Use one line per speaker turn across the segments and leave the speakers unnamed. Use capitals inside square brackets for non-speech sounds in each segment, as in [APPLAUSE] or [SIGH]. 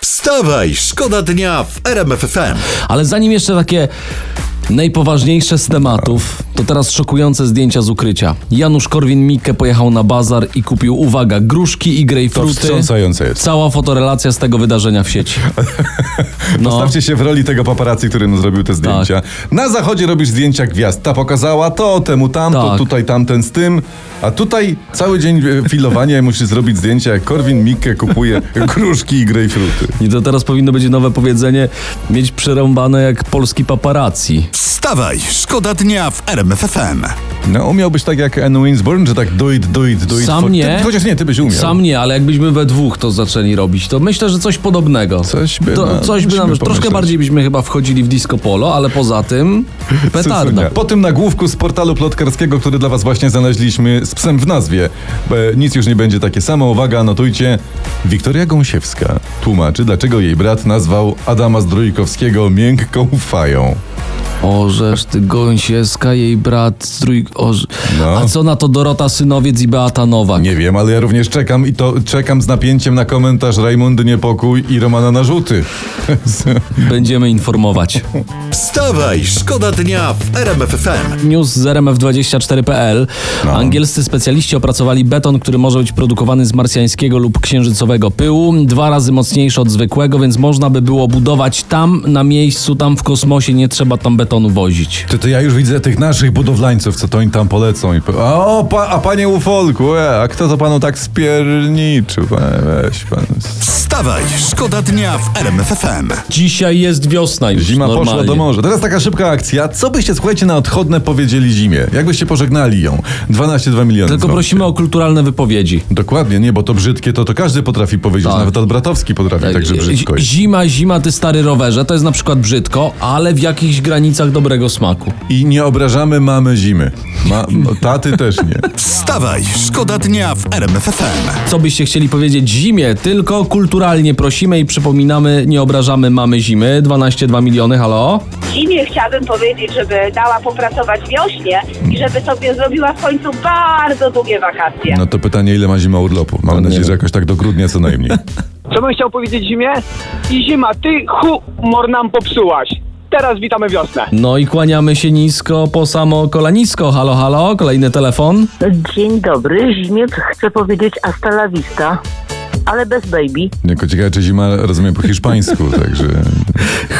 Wstawaj, szkoda dnia w RMFFM.
Ale zanim jeszcze takie najpoważniejsze z tematów, to teraz szokujące zdjęcia z ukrycia. Janusz Korwin-Mikke pojechał na bazar i kupił, uwaga, gruszki i grejpfruty.
wstrząsające jest.
Cała fotorelacja z tego wydarzenia w sieci.
[LAUGHS]
No, Tak.
Postawcie się w roli tego paparazzi, który mu zrobił te zdjęcia. Na zachodzie robisz zdjęcia gwiazd. Ta pokazała to, temu tamto,
Tak.
tutaj tamten z tym. A tutaj cały dzień e, filowania [LAUGHS] musisz zrobić zdjęcia, jak Korwin Mikke
[LAUGHS]
kupuje gruszki i grejpfruty.
i to teraz powinno być nowe powiedzenie, mieć przerąbane jak polski paparazzi.
Wstawaj, szkoda dnia w RMFFM.
No, umiałbyś tak jak Anne Winsborn, że tak do it, do it, do it.
Sam
for-
nie.
Ty, chociaż nie, ty byś umiał.
Sam nie, ale jakbyśmy we dwóch to zaczęli robić, to myślę, że coś podobnego.
Coś by
to,
nam-
coś by nam
musimy
troszkę
pomyśleć.
bardziej byśmy chyba wchodzili w disco polo, ale poza
[LAUGHS]
tym petarda.
Po tym nagłówku z portalu plotkarskiego, który dla was właśnie znaleźliśmy z psem w nazwie. E, nic już nie będzie takie samo. Uwaga, notujcie. Wiktoria Gąsiewska tłumaczy, dlaczego jej brat nazwał Adama Zdrójkowskiego miękką fają.
Orzesz, ty Gąsiewska, jej brat, strój... Orz...
No.
A co na to Dorota Synowiec i Beata Nowak?
Nie wiem, ale ja również czekam i to czekam z napięciem na komentarz Rajmundy Niepokój i Romana Narzuty. [LAUGHS]
Będziemy informować.
Wstawaj, szkoda dnia w RMFFM.
News z rmf24.pl.
No.
Angielscy specjaliści opracowali beton, który może być produkowany z marsjańskiego lub księżycowego pyłu. Dwa razy mocniejszy od zwykłego, więc można by było budować tam, na miejscu, tam w kosmosie. Nie trzeba tam betonu wozić.
Ty, to ja już widzę tych naszych budowlańców, co to oni tam polecą. I po... a, o, pa, a panie Ufolku, e, a kto to panu tak spierniczył? E, weź pan...
Wstawaj, szkoda dnia w RMFFM.
Dzisiaj jest wiosna już
Zima
normalnie.
poszła do morza. Teraz taka szybka akcja. Co byście, słuchajcie, na odchodne powiedzieli zimie? Jakbyście pożegnali ją? 12,2 miliony.
Tylko
dzwonki.
prosimy o kulturalne wypowiedzi.
Dokładnie, nie, bo to brzydkie to to każdy potrafi powiedzieć.
Tak.
Nawet Albratowski potrafi także tak, brzydko.
Z- Tak, Zima, zima, ty stary rowerze, to jest na przykład brzydko, ale w jakichś granicach dobrego smaku.
I nie obrażamy mamy zimy. Ma, no, taty też nie.
Wstawaj, szkoda dnia w RMFFM.
Co byście chcieli powiedzieć zimie, tylko kulturalnie prosimy i przypominamy, nie obrażamy mamy zimy, 12,2 miliony, halo?
zimie chciałabym powiedzieć, żeby dała popracować wiośnie i żeby sobie zrobiła w końcu bardzo długie wakacje.
No to pytanie, ile ma zima urlopu? Mam nadzieję, że jakoś tak do grudnia co najmniej.
Co bym chciał powiedzieć zimie? I zima, ty humor nam popsułaś. Teraz witamy wiosnę.
No i kłaniamy się nisko po samo kolanisko, halo, halo, kolejny telefon.
Dzień dobry, Zimiec chcę powiedzieć hasta la vista, ale bez baby.
Jako ciekawe, czy zima rozumiem po
[LAUGHS]
hiszpańsku, także...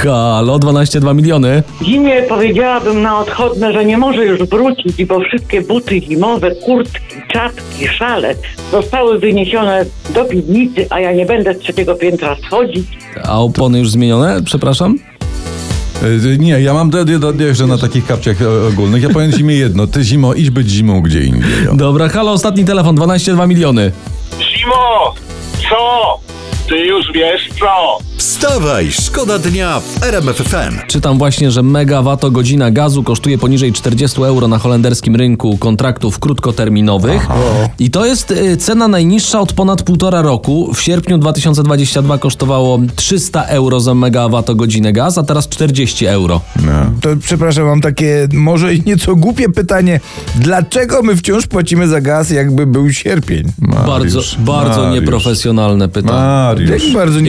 Halo, 12,2 miliony.
Zimie powiedziałabym na odchodne, że nie może już wrócić, bo wszystkie buty zimowe, kurtki, czapki, szale zostały wyniesione do piwnicy, a ja nie będę z trzeciego piętra schodzić.
A opony już zmienione, przepraszam?
E, Nie, ja mam jeszcze na takich kapciach e, ogólnych. Ja powiem zimie jedno. Ty zimo, idź być zimą gdzie indziej. o.
Dobra, halo, ostatni telefon, 12,2 miliony.
Simo, co? Ty już wiesz co?
Wstawaj, szkoda dnia w RMFFM.
Czytam właśnie, że megawattogodzina gazu kosztuje poniżej 40 euro na holenderskim rynku kontraktów krótkoterminowych. I to jest y, cena najniższa od ponad półtora roku. W sierpniu 2022 kosztowało 300 euro za megawattogodzinę gaz, a teraz 40 euro.
No.
To przepraszam, mam takie może i nieco głupie pytanie. Dlaczego my wciąż płacimy za gaz, jakby był sierpień?
Bardzo,
Mariusz,
bardzo
Mariusz,
nieprofesjonalne pytanie.
Mariusz.
Jak bardzo
Ja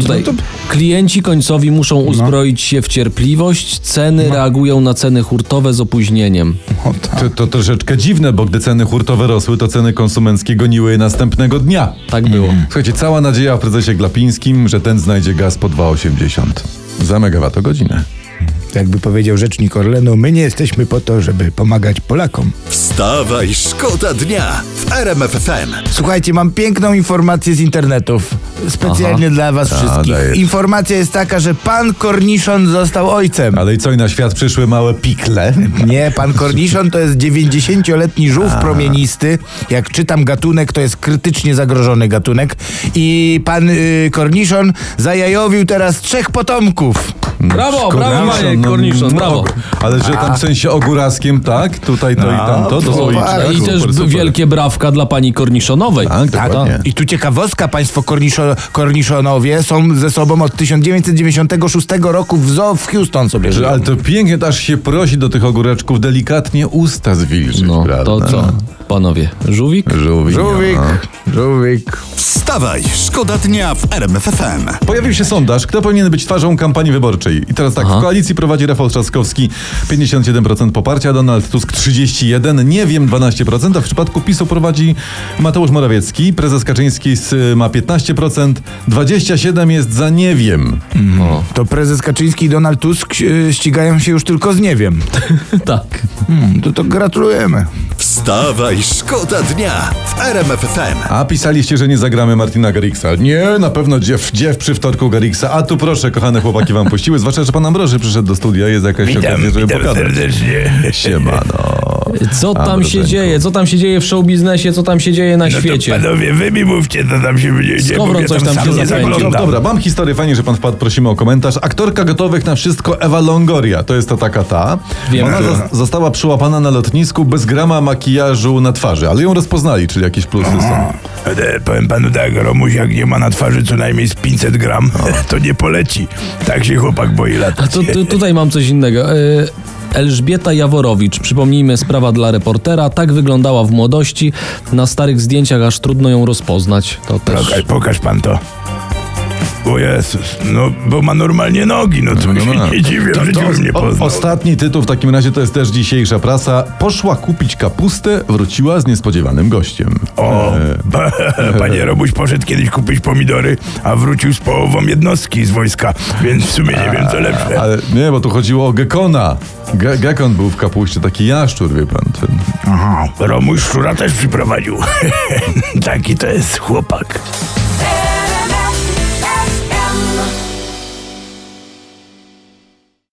czytam tutaj.
No to No.
Klienci końcowi muszą uzbroić się w cierpliwość, ceny reagują na ceny hurtowe z opóźnieniem.
tak.
To, to troszeczkę dziwne, bo gdy ceny hurtowe rosły, to ceny konsumenckie goniły je następnego dnia.
Tak było.
Mm.
Słuchajcie, cała nadzieja w prezesie Glapińskim, że ten znajdzie gaz po 2,80 za megawattogodzinę.
jakby powiedział rzecznik Orlenu, my nie jesteśmy po to, żeby pomagać Polakom.
Wstawaj, szkoda dnia w RMFFM.
Słuchajcie, mam piękną informację z internetów. Specjalnie dla was
Tak,
wszystkich.
dajesz.
Informacja jest taka, że pan Korniszon został ojcem.
Ale i co, i na świat przyszły małe pikle?
Nie, pan Korniszon to jest 90-letni żółw promienisty. Jak czytam gatunek, to jest krytycznie zagrożony gatunek. I pan y, Korniszon zajajowił teraz trzech potomków.
Brawo, brawo, Majek,
no,
Korniszon, brawo.
no, Ale że tam w sensie ogóraskiem, tak? Tutaj to i tamto, to
super.
słoiczne.
I też
Super, super.
No, wielkie brawka dla pani Korniszonowej.
Tak,
Tak,
dokładnie.
I tu ciekawostka, państwo korniszo, korniszonowie są ze sobą od 1996 roku w zoo w Houston sobie
Że,
żyją.
ale to pięknie, to aż się prosi do tych ogóreczków delikatnie usta zwilżyć,
No,
prawda? no.
to co? Panowie, żółwik?
[LAUGHS] Żółwik.
Żółwik, żółwik.
Wstawaj, szkoda dnia w RMFFM.
Pojawił się sondaż, kto powinien być twarzą kampanii wyborczej. I teraz tak,
Aha.
w koalicji prowadzi Rafał Trzaskowski 57% poparcia, Donald Tusk 31%, nie wiem 12%, a w przypadku PiSu prowadzi Mateusz Morawiecki, prezes Kaczyński z, y, ma 15%, 27% jest za nie wiem.
To prezes Kaczyński i Donald Tusk y, ścigają się już tylko z nie wiem.
Tak.
Hmm, to, to gratulujemy.
Wstawaj, szkoda dnia w RMFFM.
A pisaliście, że nie zagramy Martina Garrixa. Nie, na pewno dziew, dziew przy wtorku Garrixa. A tu proszę, kochane chłopaki wam puściły, zwłaszcza, że pan Ambroży przyszedł do studia, jest jakaś okazja, żeby pogadać.
serdecznie.
Siemano.
Co tam się
Andrzeńku.
dzieje? Co tam się dzieje w showbiznesie? Co tam się dzieje
No
na świecie?
panowie, wy mi mówcie, co tam się dzieje.
Skowron bo ja coś tam tam się sam nie zapędził.
No,
Oglądam.
dobra, mam historię, fajnie, że pan wpadł, prosimy o komentarz. Aktorka gotowych na wszystko Ewa Longoria, to jest ta taka ta.
Wiem,
Ona
która.
zas- została przyłapana na lotnisku bez grama makijażu na twarzy, ale ją rozpoznali, czyli jakieś plusy są.
E, Powiem panu tak, Romuś jak nie ma na twarzy co najmniej z 500 gram, [LAUGHS] to nie poleci. Tak się chłopak boi
A
latać.
tu, tu, tutaj mam coś innego. Y, Elżbieta Jaworowicz, przypomnijmy, sprawa dla reportera. Tak wyglądała w młodości. Na starych zdjęciach aż trudno ją rozpoznać. To też.
Pokaż, pokaż pan to. O Jezus, no bo ma normalnie nogi, no to
No, no,
no,
no.
się nie dziwię, że
To
już mnie
o-
poznał.
ostatni tytuł w takim razie to jest też dzisiejsza prasa. Poszła kupić kapustę, wróciła z niespodziewanym gościem.
O, pa, E, panie Robuś poszedł kiedyś kupić pomidory, a wrócił z połową jednostki z wojska, więc w sumie nie wiem co lepsze. [LAUGHS]
Ale nie, bo tu chodziło o gekona. Ge- gekon był w kapuście, taki jaszczur, wie pan. Ten.
Tak. Romuś Szura też przyprowadził. Taki to jest chłopak.